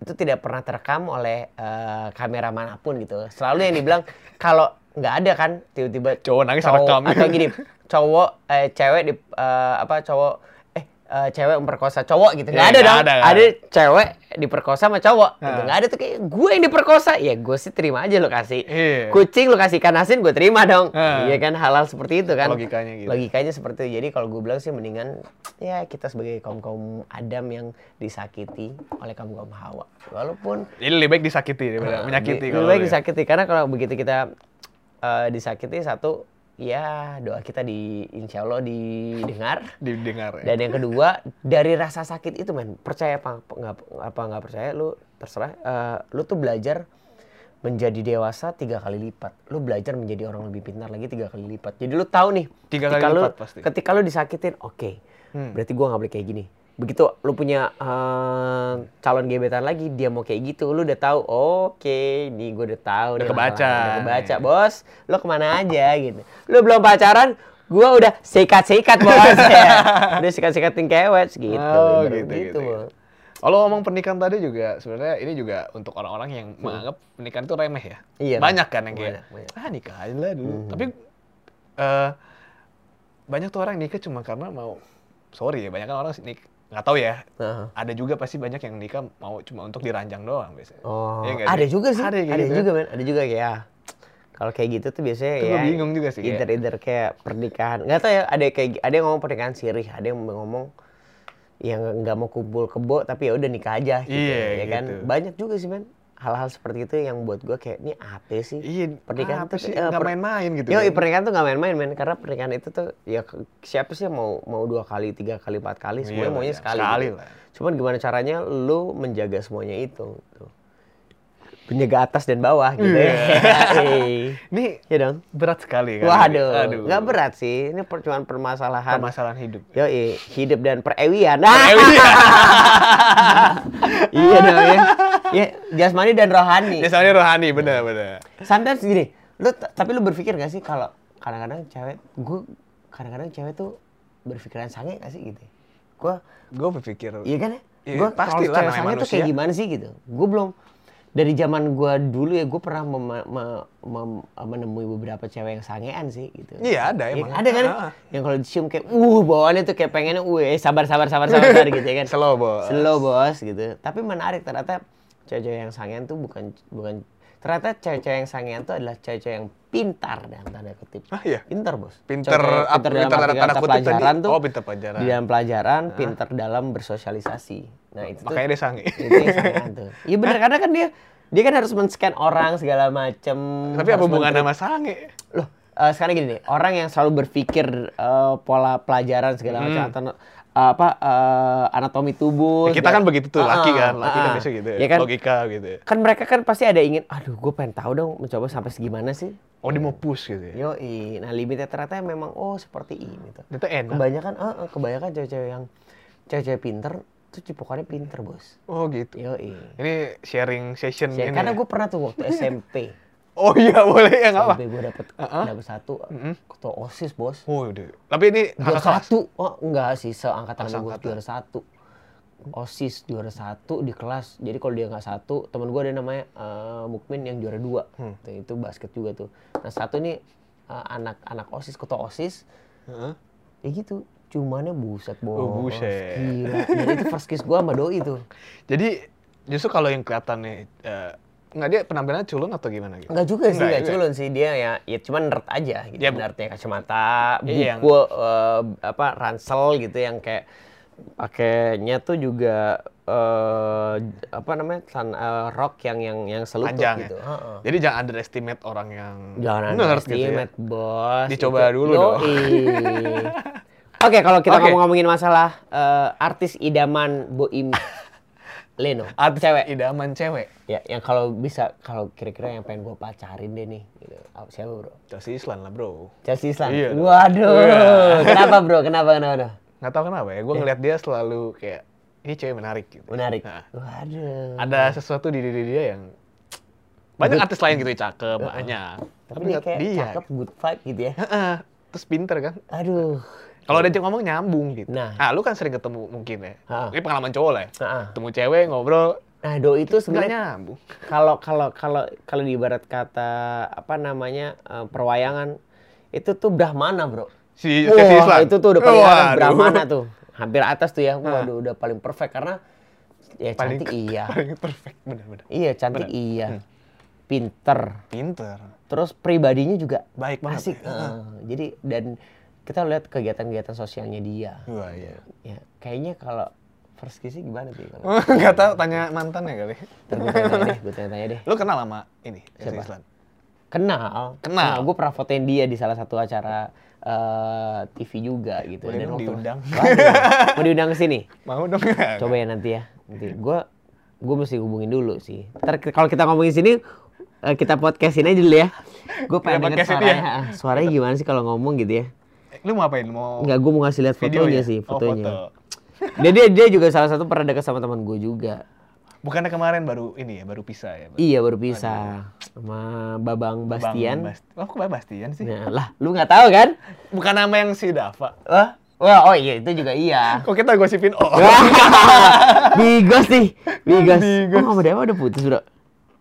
Speaker 2: itu tidak pernah terekam oleh eh, kamera manapun gitu selalu yang dibilang kalau nggak ada kan tiba-tiba
Speaker 1: Cowok nangis rekam.
Speaker 2: atau gini cowok eh, cewek di eh, apa cowok eh eh, cewek memperkosa cowok gitu nggak
Speaker 1: Iya,
Speaker 2: ada
Speaker 1: nggak
Speaker 2: dong
Speaker 1: ada,
Speaker 2: ada,
Speaker 1: nggak ada. Nah.
Speaker 2: cewek diperkosa sama cowok gitu.
Speaker 1: Heeh.
Speaker 2: nggak ada tuh kayak gue yang diperkosa ya gue sih terima aja lo kasih
Speaker 1: Iya.
Speaker 2: kucing lo kasih ikan asin gue terima dong
Speaker 1: Heeh.
Speaker 2: iya kan halal seperti itu
Speaker 1: Eh.
Speaker 2: kan
Speaker 1: Logikanya gitu.
Speaker 2: logikanya seperti itu jadi kalau gue bilang sih mendingan ya kita sebagai kaum kaum Adam yang disakiti oleh kaum kaum Hawa walaupun
Speaker 1: Jadi lebih baik disakiti daripada
Speaker 2: Nah,
Speaker 1: menyakiti.
Speaker 2: di-
Speaker 1: kalau
Speaker 2: lebih baik
Speaker 1: lu ya.
Speaker 2: disakiti karena kalau begitu kita eh, disakiti satu ya doa kita di insya Allah didengar
Speaker 1: Didengar. Ya.
Speaker 2: dan yang kedua dari rasa sakit itu men percaya apa apa nggak apa nggak percaya lu terserah eh, lu tuh belajar menjadi dewasa tiga kali lipat lu belajar menjadi orang lebih pintar lagi tiga kali lipat jadi lu tahu nih
Speaker 1: Tiga
Speaker 2: ketika
Speaker 1: kali
Speaker 2: lu-
Speaker 1: lipat pasti. Hmm.
Speaker 2: ketika lu disakitin oke berarti gua nggak boleh kayak gini begitu lu punya eh, calon gebetan lagi dia mau kayak gitu lu udah tahu oke nih gua udah tahu
Speaker 1: Udah
Speaker 2: nih
Speaker 1: kebaca. Iya.
Speaker 2: masalah, Iya, udah kebaca bos lu kemana aja gitu lu belum pacaran gua udah sikat-sikat bos Iya. udah sikat-sikatin kewet gitu
Speaker 1: Oh,
Speaker 2: Bener iya.
Speaker 1: gitu, gitu,
Speaker 2: Bos.
Speaker 1: gitu. Kalau ngomong pernikahan tadi juga sebenarnya ini juga untuk orang-orang yang menganggap pernikahan itu remeh ya.
Speaker 2: Hmm. Iya,
Speaker 1: Banyak
Speaker 2: Bang.
Speaker 1: kan yang kayak
Speaker 2: Hmm. Banyak, banyak.
Speaker 1: ah nikah aja lah dulu. Tapi eh banyak tuh orang nikah cuma karena mau sorry ya banyak kan orang nik nggak tahu ya
Speaker 2: Heeh.
Speaker 1: ada juga pasti banyak yang nikah mau cuma untuk diranjang doang biasanya
Speaker 2: Oh,
Speaker 1: Iya nggak
Speaker 2: ada
Speaker 1: sih?
Speaker 2: juga sih.
Speaker 1: Ada
Speaker 2: Ada,
Speaker 1: kayak gitu.
Speaker 2: juga, men. Ada juga kayak ya. Kalau kayak gitu tuh biasanya
Speaker 1: Itu
Speaker 2: ya.
Speaker 1: gue bingung juga sih, kayak-
Speaker 2: Either either kayak pernikahan. Gak tau ya. Ada kayak ada yang ngomong pernikahan sirih, ada yang ngomong yang nggak mau kumpul kebo tapi ya udah nikah aja gitu,
Speaker 1: Iya,
Speaker 2: ya kan
Speaker 1: gitu.
Speaker 2: banyak juga sih men hal-hal seperti itu yang buat gua kayak ini apa sih
Speaker 1: iya
Speaker 2: pernikahan
Speaker 1: apa
Speaker 2: tuh-
Speaker 1: sih
Speaker 2: eh,
Speaker 1: nggak
Speaker 2: per-
Speaker 1: main-main gitu
Speaker 2: Yo,
Speaker 1: kan.
Speaker 2: pernikahan tuh nggak main-main men karena pernikahan itu tuh ya ke- siapa sih yang mau mau dua kali tiga kali empat kali
Speaker 1: Iya
Speaker 2: semuanya
Speaker 1: lah,
Speaker 2: maunya
Speaker 1: iya.
Speaker 2: sekali,
Speaker 1: Sekali
Speaker 2: gitu.
Speaker 1: lah.
Speaker 2: cuman gimana caranya lu menjaga semuanya itu gitu. penjaga atas dan bawah gitu
Speaker 1: Iya.
Speaker 2: ya Hey.
Speaker 1: ini
Speaker 2: ya dong
Speaker 1: berat sekali kan
Speaker 2: waduh
Speaker 1: Aduh.
Speaker 2: nggak berat sih ini per, cuman permasalahan
Speaker 1: permasalahan hidup
Speaker 2: yo hidup dan perewian Ah!
Speaker 1: Ewi.
Speaker 2: iya dong ya ya jasmani dan rohani
Speaker 1: Ya soalnya rohani, bener bener.
Speaker 2: sometimes gini lu t- tapi lu berpikir gak sih kalau kadang-kadang cewek gue kadang-kadang cewek tuh berpikiran sange gak sih gitu gue
Speaker 1: Gue berpikir,
Speaker 2: iya kan ya
Speaker 1: Iya,
Speaker 2: gue
Speaker 1: pasti
Speaker 2: pasti
Speaker 1: lah,
Speaker 2: cewek
Speaker 1: namanya
Speaker 2: sange tuh kayak
Speaker 1: manusia.
Speaker 2: gimana sih gitu gue belum dari zaman gue dulu ya gue pernah mema- me- mem- menemui beberapa cewek yang sangean sih gitu
Speaker 1: Iya, ada
Speaker 2: Iya,
Speaker 1: emang.
Speaker 2: ada kan
Speaker 1: Ah, ah.
Speaker 2: yang kalau dicium kayak uh bawaannya tuh kayak pengennya uh eh, sabar sabar sabar sabar gitu ya kan
Speaker 1: Slow, bos.
Speaker 2: slow bos gitu tapi menarik ternyata cewek-cewek yang sangean tuh bukan bukan ternyata cewek-cewek yang sangean tuh adalah cewek-cewek yang pintar dalam tanda kutip
Speaker 1: Ah, iya?
Speaker 2: pintar bos
Speaker 1: Pintar
Speaker 2: Cewek-cewek
Speaker 1: apa-
Speaker 2: dalam
Speaker 1: pintar tanda-
Speaker 2: artian
Speaker 1: tanda kutip tadi?
Speaker 2: pelajaran tuh
Speaker 1: Oh, pintar pelajaran.
Speaker 2: di dalam pelajaran pintar dalam bersosialisasi nah itu tuh-
Speaker 1: makanya dia sange.
Speaker 2: itu yang sangean tuh iya bener karena kan dia dia kan harus men-scan orang segala macem
Speaker 1: Tapi apa
Speaker 2: harus
Speaker 1: hubungannya
Speaker 2: men-treat
Speaker 1: sama ya? sange?
Speaker 2: loh eh, sekarang gini nih orang yang selalu berpikir eh, pola pelajaran segala macam atau apa eh, anatomi tubuh
Speaker 1: Hmm. Ya, kita kan
Speaker 2: segala-
Speaker 1: begitu tuh,
Speaker 2: Ah,
Speaker 1: laki kan,
Speaker 2: ah,
Speaker 1: laki kan
Speaker 2: ah.
Speaker 1: biasa gitu,
Speaker 2: ya kan
Speaker 1: logika gitu.
Speaker 2: kan mereka kan pasti ada ingin aduh gue pengen tahu dong mencoba sampai segimana sih
Speaker 1: Oh dia mau push gitu ya?
Speaker 2: yoi nah limitnya ternyata memang oh seperti ini tuh
Speaker 1: Ternyata enak.
Speaker 2: kebanyakan eh, eh, kebanyakan cewek-cewek yang cewek-cewek pinter tuh cipokannya pinter bos
Speaker 1: Oh gitu.
Speaker 2: yoi
Speaker 1: Ini sharing session ini.
Speaker 2: Ya, Iya. karena
Speaker 1: ya?
Speaker 2: gue pernah tuh waktu SMP
Speaker 1: Oh iya boleh ya nggak apa.
Speaker 2: SMP gue dapet dapet satu ketua osis bos
Speaker 1: Oh udah. Tapi ini angka
Speaker 2: juara
Speaker 1: kelas.
Speaker 2: satu oh enggak sih seangkatan
Speaker 1: Oh,
Speaker 2: sama gue
Speaker 1: seangkatan.
Speaker 2: juara satu osis juara satu di kelas jadi kalau dia nggak satu teman gue ada namanya eh, Mukmin yang juara dua
Speaker 1: Hmm.
Speaker 2: Tuh, itu basket juga tuh nah satu ini eh, anak anak osis ketua osis
Speaker 1: Heeh.
Speaker 2: ya gitu cumannya buset bos
Speaker 1: Oh, buset.
Speaker 2: gila jadi itu first kiss gue sama doi tuh
Speaker 1: Jadi justru kalau yang kelihatannya eh nggak dia penampilannya culun atau gimana gitu?
Speaker 2: Enggak juga sih,
Speaker 1: Nggak
Speaker 2: enggak
Speaker 1: juga.
Speaker 2: culun sih dia ya, ya cuman nerd aja gitu.
Speaker 1: Ya, bu-
Speaker 2: Nerdnya kacamata, buku
Speaker 1: Iya, yang-
Speaker 2: eh, apa ransel gitu yang kayak pakainya tuh juga eh apa namanya? Tan, eh, rok yang yang yang selutut
Speaker 1: Panjang
Speaker 2: gitu.
Speaker 1: ya.
Speaker 2: Heeh.
Speaker 1: Jadi jangan underestimate orang yang
Speaker 2: Jangan
Speaker 1: nerd gitu ya.
Speaker 2: underestimate, bos.
Speaker 1: Dicoba dulu dong.
Speaker 2: Yoi. Oke, kalau kita
Speaker 1: Oke.
Speaker 2: ngomong-ngomongin masalah eh, artis idaman Boim Leno,
Speaker 1: Artis
Speaker 2: cewek.
Speaker 1: Idaman cewek.
Speaker 2: Ya, yang kalau bisa, kalau kira-kira yang pengen gue pacarin deh nih, gitu. Apa- siapa bro?
Speaker 1: Chelsea Islan lah bro.
Speaker 2: Chelsea Islan.
Speaker 1: Iya dong.
Speaker 2: Waduh,
Speaker 1: Iya.
Speaker 2: kenapa bro? Kenapa kenapa? kenapa?
Speaker 1: Nggak tahu kenapa ya, gue ngeliat dia selalu kayak, ini cewek menarik gitu.
Speaker 2: Menarik.
Speaker 1: Nah,
Speaker 2: Waduh.
Speaker 1: ada sesuatu di diri dia yang, Iya. banyak artis lain gitu yang cakep, banyak.
Speaker 2: Tapi dia
Speaker 1: ngeliat
Speaker 2: kayak
Speaker 1: dia,
Speaker 2: cakep, good vibe gitu ya.
Speaker 1: Heeh, terus pinter kan.
Speaker 2: Aduh.
Speaker 1: Kalau dia ngomong nyambung gitu.
Speaker 2: Nah.
Speaker 1: Ah, lu kan sering ketemu mungkin ya.
Speaker 2: Ah.
Speaker 1: Ini pengalaman cowok lah ya.
Speaker 2: Ah.
Speaker 1: Ketemu cewek, ngobrol,
Speaker 2: Nah, do itu
Speaker 1: nggak
Speaker 2: sebenarnya
Speaker 1: nyambung.
Speaker 2: kalau kalau kalau kalau di ibarat kata apa namanya eh, perwayangan itu tuh Brahmana bro.
Speaker 1: Si
Speaker 2: Wah,
Speaker 1: Chelsea Islan.
Speaker 2: itu tuh udah paling atas
Speaker 1: Waduh.
Speaker 2: Brahmana tuh. Hampir atas tuh ya. Waduh, udah paling perfect karena ya
Speaker 1: Paling-
Speaker 2: cantik iya.
Speaker 1: Paling perfect, bener-bener.
Speaker 2: Iya, cantik iya. Pinter.
Speaker 1: Pinter.
Speaker 2: terus pribadinya juga
Speaker 1: Baik banget ya.
Speaker 2: asik. Heeh. jadi dan kita lihat kegiatan-kegiatan sosialnya dia
Speaker 1: Wah, iya.
Speaker 2: ya kayaknya kalau first kiss gimana sih kalau
Speaker 1: Nggak tahu tanya mantannya kali.
Speaker 2: Ntar gue tanya deh gue tanya deh
Speaker 1: Lu kenal sama ini, Chelsea
Speaker 2: Siapa?
Speaker 1: Islan?
Speaker 2: kenal
Speaker 1: Kenal.
Speaker 2: gue pernah fotoin dia di salah satu acara eh, TV juga gitu
Speaker 1: Boleh dong
Speaker 2: waktu-
Speaker 1: diundang.
Speaker 2: Waduh, mau diundang ke sini
Speaker 1: Mau dong.
Speaker 2: coba ya nanti ya nanti gue gue mesti hubungin dulu sih ntar ki- kalau kita ngomongin sini eh, kita podcastin aja dulu ya gue pengen denger
Speaker 1: podcastin
Speaker 2: suaranya
Speaker 1: ya.
Speaker 2: ah, suaranya gimana sih kalau ngomong gitu ya
Speaker 1: Lu mau apain? Mau
Speaker 2: Enggak, gue mau ngasih lihat
Speaker 1: Oh. video
Speaker 2: fotonya
Speaker 1: ya?
Speaker 2: sih,
Speaker 1: Oh,
Speaker 2: fotonya.
Speaker 1: foto.
Speaker 2: Dia, dia dia juga salah satu pernah dekat sama teman gue juga.
Speaker 1: Bukannya kemarin baru ini ya, baru pisah ya? Baru-
Speaker 2: Iya baru pisah sama Babang
Speaker 1: Bang
Speaker 2: Bastian.
Speaker 1: Bast- oh, kok Bang Bastian sih?
Speaker 2: Nah, lah, lu nggak tahu kan?
Speaker 1: Bukan nama yang si Dava.
Speaker 2: Wah, wah, oh iya itu juga iya.
Speaker 1: Kok kita gosipin oh?
Speaker 2: Bigos nih, Bigos.
Speaker 1: Bigos.
Speaker 2: Oh, sama Dewa udah putus bro.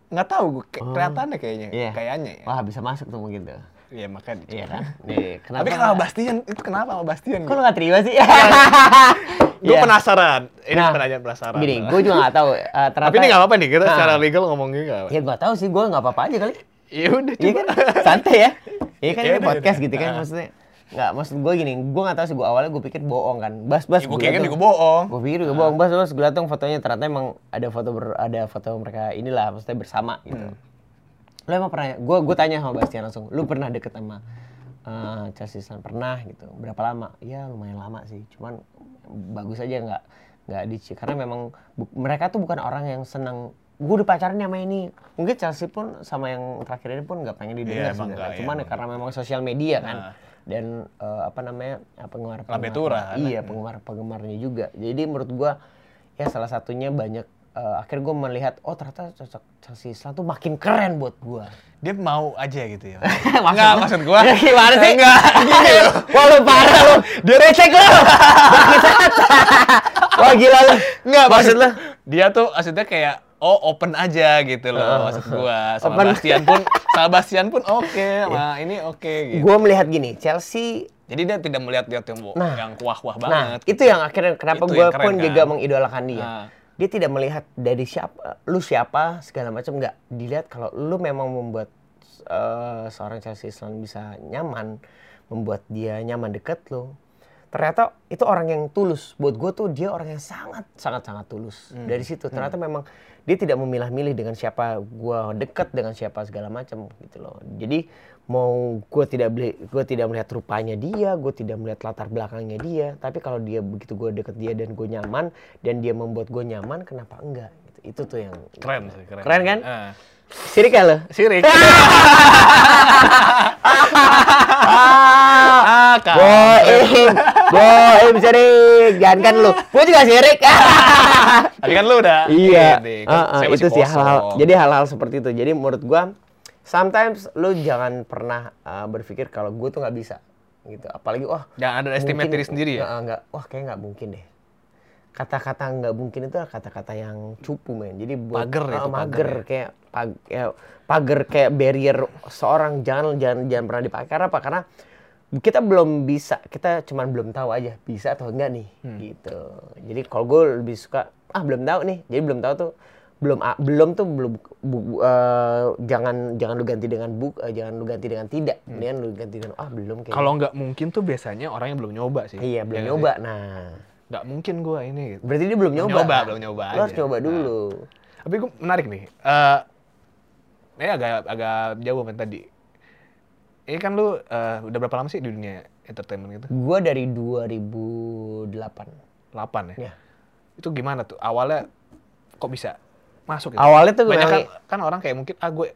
Speaker 1: Nggak tahu, gue, kelihatannya kayaknya.
Speaker 2: Iya.
Speaker 1: Kayaknya ya.
Speaker 2: Wah, bisa masuk tuh mungkin tuh.
Speaker 1: Iya makanya.
Speaker 2: Iya
Speaker 1: dicoba.
Speaker 2: kan? Iya, kenapa?
Speaker 1: Tapi kalau Bastian itu kenapa sama Bastian?
Speaker 2: Kok lu gak terima sih?
Speaker 1: Gue
Speaker 2: Iya.
Speaker 1: penasaran. Ini
Speaker 2: Nah,
Speaker 1: pertanyaan penasaran.
Speaker 2: Gini, gue juga gak tahu. eh, ternyata,
Speaker 1: Tapi ini nggak apa-apa nih kita
Speaker 2: Nah.
Speaker 1: secara legal ngomong gini nggak apa-apa.
Speaker 2: Ya gue tahu sih, gue gak apa-apa aja kali.
Speaker 1: Iya udah
Speaker 2: Iya
Speaker 1: coba.
Speaker 2: kan? Santai ya. Iya kan
Speaker 1: Ya
Speaker 2: ini
Speaker 1: udah,
Speaker 2: podcast
Speaker 1: udah.
Speaker 2: gitu kan
Speaker 1: Ah.
Speaker 2: maksudnya. Enggak, maksud gue gini, gue gak tahu sih, gue awalnya gue pikir bohong kan. Bas-bas
Speaker 1: Gue Ya, kayaknya gue bohong.
Speaker 2: Gue pikir juga bohong, bas bas gue liat dong fotonya ternyata emang ada foto ber, ada foto mereka inilah maksudnya bersama gitu.
Speaker 1: Hmm.
Speaker 2: Lo emang pernah? Gue gue tanya sama Bastian langsung, lu pernah deket sama eh Chelsea Islan? Pernah gitu. Berapa lama? Ya lumayan lama sih, cuman bagus aja nggak nggak dicik karena memang bu- mereka tuh bukan orang yang seneng gue udah pacaran nih sama ini mungkin Chelsea pun sama yang terakhir ini pun nggak pengen didengar
Speaker 1: Iya, emang
Speaker 2: sebenarnya
Speaker 1: nggak,
Speaker 2: cuman
Speaker 1: iya.
Speaker 2: karena memang sosial media kan
Speaker 1: Nah.
Speaker 2: dan eh, apa namanya pengeluaran
Speaker 1: Lambe-tura, kan?
Speaker 2: iya penggemar penggemarnya juga jadi menurut gua ya salah satunya banyak eh, akhirnya gue melihat oh ternyata cocok Chelsea Islan tuh makin keren buat gua
Speaker 1: Dia mau aja gitu ya.
Speaker 2: Maksud-
Speaker 1: Enggak, maksud gue.
Speaker 2: Gimana sih? Iya,
Speaker 1: Enggak. Gini loh.
Speaker 2: wah lu parah lu dia recek lu Bangsat. wah gila lu
Speaker 1: Enggak,
Speaker 2: maksud lu
Speaker 1: Dia tuh maksudnya kayak oh open aja gitu loh maksud gua. Sama
Speaker 2: Open. Iya.
Speaker 1: Bastian pun sama Bastian pun oke, sama ini oke gitu.
Speaker 2: gue melihat gini Chelsea
Speaker 1: Jadi dia tidak melihat dia yang
Speaker 2: Nah.
Speaker 1: yang kuah-kuah
Speaker 2: Nah,
Speaker 1: banget. gitu.
Speaker 2: itu yang akhirnya kenapa
Speaker 1: Itu
Speaker 2: gue
Speaker 1: yang keren,
Speaker 2: pun
Speaker 1: kan?
Speaker 2: juga mengidolakan dia.
Speaker 1: Nah.
Speaker 2: Dia tidak melihat dari siapa, lu siapa, segala macam nggak dilihat kalau lu memang membuat eh, seorang Chelsea Islan bisa nyaman, membuat dia nyaman deket lu. Ternyata itu orang yang tulus. Buat gue tuh dia orang yang sangat sangat sangat tulus.
Speaker 1: Hmm.
Speaker 2: Dari situ ternyata memang dia tidak memilah-milih dengan siapa gue deket dengan siapa segala macam gitu loh. Jadi mau gue tidak beli gue tidak melihat rupanya dia gue tidak melihat latar belakangnya dia tapi kalau dia begitu gue deket dia dan gue nyaman dan dia membuat gue nyaman kenapa enggak Gitu. itu tuh yang
Speaker 1: keren sih, keren.
Speaker 2: Keren, kan?
Speaker 1: Nah.
Speaker 2: sirik ya lo
Speaker 1: Sirik. ah, kan.
Speaker 2: boim boim sirik jangan kan lo gue juga sirik
Speaker 1: Tadi kan lu udah
Speaker 2: Iya,
Speaker 1: ini, kan
Speaker 2: Ah, ah,
Speaker 1: saya masih
Speaker 2: itu sih
Speaker 1: kosong.
Speaker 2: hal-hal. Jadi hal-hal seperti itu. Jadi menurut gua, sometimes lu jangan pernah ah, berpikir kalau gua tuh nggak bisa, gitu. Apalagi wah.
Speaker 1: Jangan ada estimate
Speaker 2: mungkin-
Speaker 1: diri sendiri ya?
Speaker 2: Ah, ah, nggak, wah kayak nggak mungkin deh. Kata-kata nggak mungkin itu adalah kata-kata yang cupu men. Jadi buat,
Speaker 1: Pager
Speaker 2: ah,
Speaker 1: itu, pager
Speaker 2: mager
Speaker 1: ya.
Speaker 2: kayak pag- ya, pager kayak barrier seorang jangan jangan jangan pernah dipakai karena apa? Karena kita belum bisa, kita cuman belum tahu aja bisa atau enggak nih,
Speaker 1: Hmm.
Speaker 2: gitu. Jadi kalau gue lebih suka ah belum tahu nih, jadi belum tahu tuh belum ah, belum tuh belum bu- bu- eh, jangan jangan lu ganti dengan buk, eh, jangan lu ganti dengan tidak, kemudian lu ganti dengan ah belum kayak
Speaker 1: Hmm. Kalau nggak mungkin tuh biasanya orang yang belum nyoba sih.
Speaker 2: iya belum
Speaker 1: Ya nggak
Speaker 2: nyoba,
Speaker 1: sih?
Speaker 2: nah
Speaker 1: Nggak mungkin gua ini gitu.
Speaker 2: berarti dia belum
Speaker 1: Belum
Speaker 2: nyoba,
Speaker 1: nyoba,
Speaker 2: Pak.
Speaker 1: belum nyoba
Speaker 2: Lu harus
Speaker 1: aja.
Speaker 2: nyoba
Speaker 1: Nah.
Speaker 2: dulu,
Speaker 1: Tapi gue menarik nih. Eh ini agak agak jauh sama yang tadi. Ini kan lu eh, udah berapa lama sih di dunia entertainment gitu?
Speaker 2: gua dari 2008
Speaker 1: 8 ya.
Speaker 2: Iya.
Speaker 1: Itu gimana tuh? Awalnya kok bisa masuk gitu?
Speaker 2: Awalnya tuh
Speaker 1: Banyak kan,
Speaker 2: memang-
Speaker 1: kan orang kayak mungkin ah gue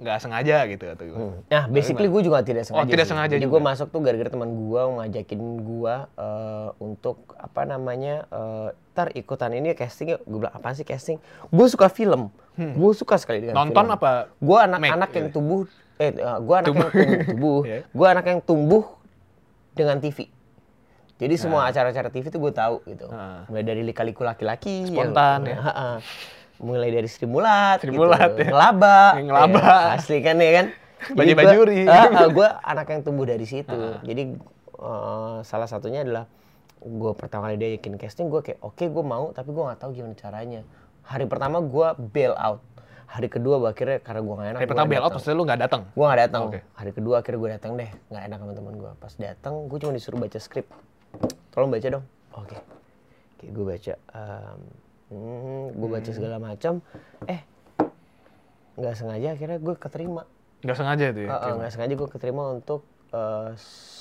Speaker 1: nggak sengaja gitu atau gimana.
Speaker 2: Nah, basically gue juga tidak sengaja.
Speaker 1: Oh, tidak
Speaker 2: sih.
Speaker 1: sengaja
Speaker 2: Jadi
Speaker 1: juga.
Speaker 2: gue masuk tuh gara-gara teman gue ngajakin gue eh, untuk apa namanya eh, ntar ikutan ini casting yuk. Gue bilang apa sih casting? Gue suka film. Gue suka sekali dengan
Speaker 1: Hmm. Nonton
Speaker 2: film.
Speaker 1: apa?
Speaker 2: Gue anak-anak
Speaker 1: make? Iya.
Speaker 2: yang tumbuh. Eh, gue anak
Speaker 1: Tumbuh.
Speaker 2: yang tumbuh. tubuh.
Speaker 1: Iya.
Speaker 2: Gue anak yang tumbuh dengan TV. Jadi semua acara-acara TV tuh gue tahu gitu.
Speaker 1: Ah.
Speaker 2: Mulai dari lika-liku laki-laki.
Speaker 1: Spontan, ya.
Speaker 2: Ha-ha. Mulai dari Sri Mulat,
Speaker 1: Sri Mulat, ya.
Speaker 2: gitu. ngelaba,
Speaker 1: Yang ngelaba.
Speaker 2: ya. asli kan ya kan,
Speaker 1: Bajai
Speaker 2: Jadi gua-
Speaker 1: bajuri.
Speaker 2: Ah, ah, gue anak yang tumbuh dari situ.
Speaker 1: Ah,
Speaker 2: Jadi eh, salah satunya adalah gue pertama kali dia yakin casting gue kayak oke gue mau tapi gue nggak tahu gimana caranya. Hari pertama gue bail out. Hari kedua gua akhirnya karena gue nggak enak.
Speaker 1: Dari pertama bail out maksudnya "Oh, lu nggak datang.
Speaker 2: Gue nggak datang.
Speaker 1: Oke.
Speaker 2: Hari kedua akhirnya gue datang deh nggak enak sama teman gue. Pas datang gue cuma disuruh baca skrip. Tolong baca dong. Oke. Kayak gue baca. gue
Speaker 1: Hmm.
Speaker 2: baca segala macam. Eh nggak sengaja akhirnya gue keterima.
Speaker 1: Nggak sengaja itu ya.
Speaker 2: Heeh, nggak sengaja gue keterima untuk eh,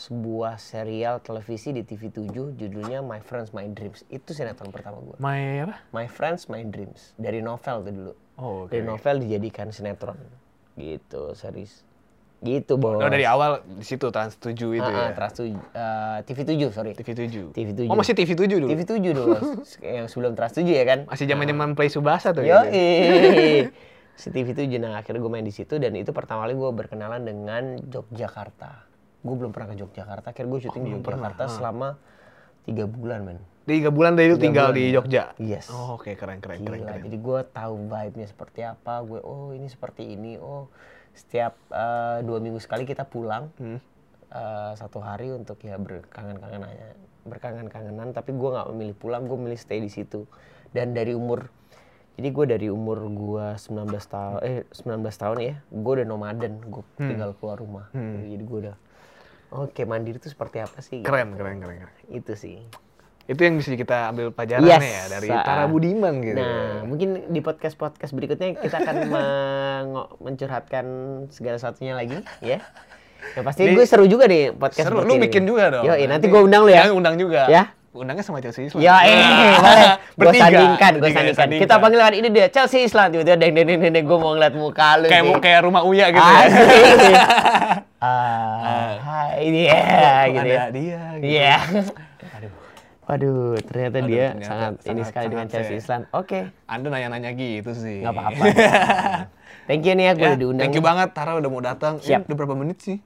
Speaker 2: sebuah serial televisi di TV7 judulnya My Friends My Dreams. Itu sinetron pertama gue.
Speaker 1: My apa?
Speaker 2: My Friends My Dreams dari novel tuh dulu.
Speaker 1: Oh, oke.
Speaker 2: Dari novel dijadikan sinetron. Gitu, series. Gitu, Bos.
Speaker 1: Oh, dari awal di situ Trans 7 itu
Speaker 2: Heeh,
Speaker 1: ya.
Speaker 2: Trans tuj- eh, TV7, sorry.
Speaker 1: TV7.
Speaker 2: TV7.
Speaker 1: Oh, masih TV7 dulu.
Speaker 2: TV7 dulu, Bos. yang sebelum Trans 7 ya kan?
Speaker 1: Masih zaman-zaman Play Subasa tuh.
Speaker 2: Yo,
Speaker 1: gitu.
Speaker 2: si TV itu nah akhirnya gue main di situ dan itu pertama kali gue berkenalan dengan Yogyakarta. Gue belum pernah ke Yogyakarta, akhirnya gue syuting di Yogyakarta selama tiga bulan men.
Speaker 1: Tiga bulan dari itu
Speaker 2: Tiga
Speaker 1: tinggal
Speaker 2: bulan.
Speaker 1: di Jogja.
Speaker 2: Yes.
Speaker 1: Oh, oke keren keren keren
Speaker 2: Gila,
Speaker 1: keren.
Speaker 2: jadi gue tahu vibe-nya seperti apa, gue oh ini seperti ini, oh setiap eh, dua minggu sekali kita pulang
Speaker 1: Hmm.
Speaker 2: eh, satu hari untuk ya berkangen-kangen aja berkangen-kangenan tapi gue nggak memilih pulang gue milih stay di situ dan dari umur jadi gue dari umur gue 19 tahun eh 19 tahun ya gue udah nomaden gue
Speaker 1: Hmm.
Speaker 2: tinggal keluar rumah jadi gue udah oke mandiri itu seperti apa sih
Speaker 1: Keren, keren, keren, keren.
Speaker 2: itu sih
Speaker 1: Itu yang bisa kita ambil pelajaran
Speaker 2: Yes.
Speaker 1: ya dari
Speaker 2: Ah.
Speaker 1: Tara Budiman gitu.
Speaker 2: Nah, mungkin di podcast-podcast berikutnya kita akan mengo- mencurhatkan segala satunya lagi, ya. Yang pasti
Speaker 1: Di-
Speaker 2: gue seru juga deh podcast
Speaker 1: Seru,
Speaker 2: seperti
Speaker 1: lu
Speaker 2: ini.
Speaker 1: bikin juga dong.
Speaker 2: Yoi, nanti, gue undang lu ya.
Speaker 1: Yang undang juga.
Speaker 2: Ya.
Speaker 1: Undangnya sama Chelsea Islan.
Speaker 2: Ya, eh, boleh. Gue
Speaker 1: Bertiga.
Speaker 2: sandingkan, gue
Speaker 1: Bertiga,
Speaker 2: sandingkan. Kita panggil kan ini dia, Chelsea Island. Tiba-tiba, deng, deng, deng, deng, deng, gue mau ngeliat muka lu.
Speaker 1: kayak
Speaker 2: nih. Ah,
Speaker 1: kayak rumah Uya gitu ya.
Speaker 2: Asik. iya. Ah, hai, iya, gitu ya.
Speaker 1: Ada dia. gitu.
Speaker 2: Iya.
Speaker 1: Aduh.
Speaker 2: Waduh, ternyata
Speaker 1: Aduh,
Speaker 2: dia
Speaker 1: ternyata
Speaker 2: sangat ini
Speaker 1: sangat-
Speaker 2: sekali dengan
Speaker 1: sangat
Speaker 2: Chelsea
Speaker 1: saya-
Speaker 2: Island. Oke,
Speaker 1: Anda nanya-nanya gitu sih.
Speaker 2: nggak apa-apa. Thank you nih ya, gue
Speaker 1: Ya,
Speaker 2: udah diundang.
Speaker 1: Thank you banget Tara udah mau datang. Ini
Speaker 2: Siap.
Speaker 1: udah berapa menit sih?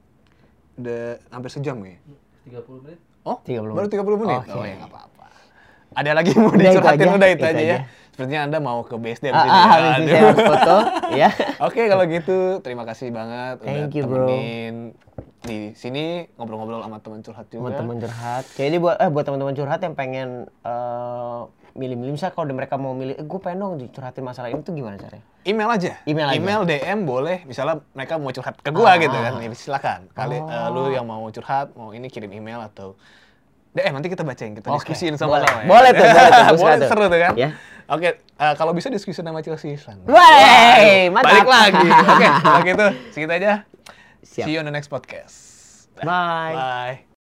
Speaker 1: Udah hampir sejam ya?
Speaker 3: 30 menit.
Speaker 1: Oh,
Speaker 2: 30
Speaker 1: baru 30 menit?
Speaker 2: Oke.
Speaker 1: Oh ya, nggak apa-apa. Ada lagi yang mau
Speaker 2: iya, Udah itu
Speaker 1: dicurhatin,
Speaker 2: aja,
Speaker 1: udah itu,
Speaker 2: itu
Speaker 1: aja ya.
Speaker 2: aja.
Speaker 1: Sepertinya Anda mau ke BSD
Speaker 2: Ah, ah, habis ini saya harus foto, ya.
Speaker 1: ya. Oke, kalau gitu terima kasih banget udah
Speaker 2: Thank you, bro.
Speaker 1: temenin di sini ngobrol-ngobrol sama teman curhat juga.
Speaker 2: Teman-teman curhat. Jadi buat eh buat teman-teman curhat yang pengen eh, milih-milih misalnya kalau mereka mau milih, eh, gue pengen dong dicurhatin masalah ini tuh gimana caranya?
Speaker 1: Email aja.
Speaker 2: Email aja.
Speaker 1: DM boleh. Misalnya mereka mau curhat ke gua
Speaker 2: Ah. Oh.
Speaker 1: gitu kan. Ya, silakan. Kali eh, lu yang mau curhat, mau ini kirim email atau DM nanti kita bacain, kita
Speaker 2: Oke,
Speaker 1: diskusiin sama
Speaker 2: boleh.
Speaker 1: lo ya.
Speaker 2: Boleh tuh, boleh tuh, gua suka
Speaker 1: boleh
Speaker 2: tuh.
Speaker 1: seru tuh kan.
Speaker 2: Ya.
Speaker 1: Oke, eh, kalau bisa diskusi sama Chelsea Islan.
Speaker 2: Wey, mantap.
Speaker 1: Balik lagi. Oke, kalau gitu segitu aja.
Speaker 2: Siap.
Speaker 1: See you on the next podcast.
Speaker 2: Bye.
Speaker 1: Bye.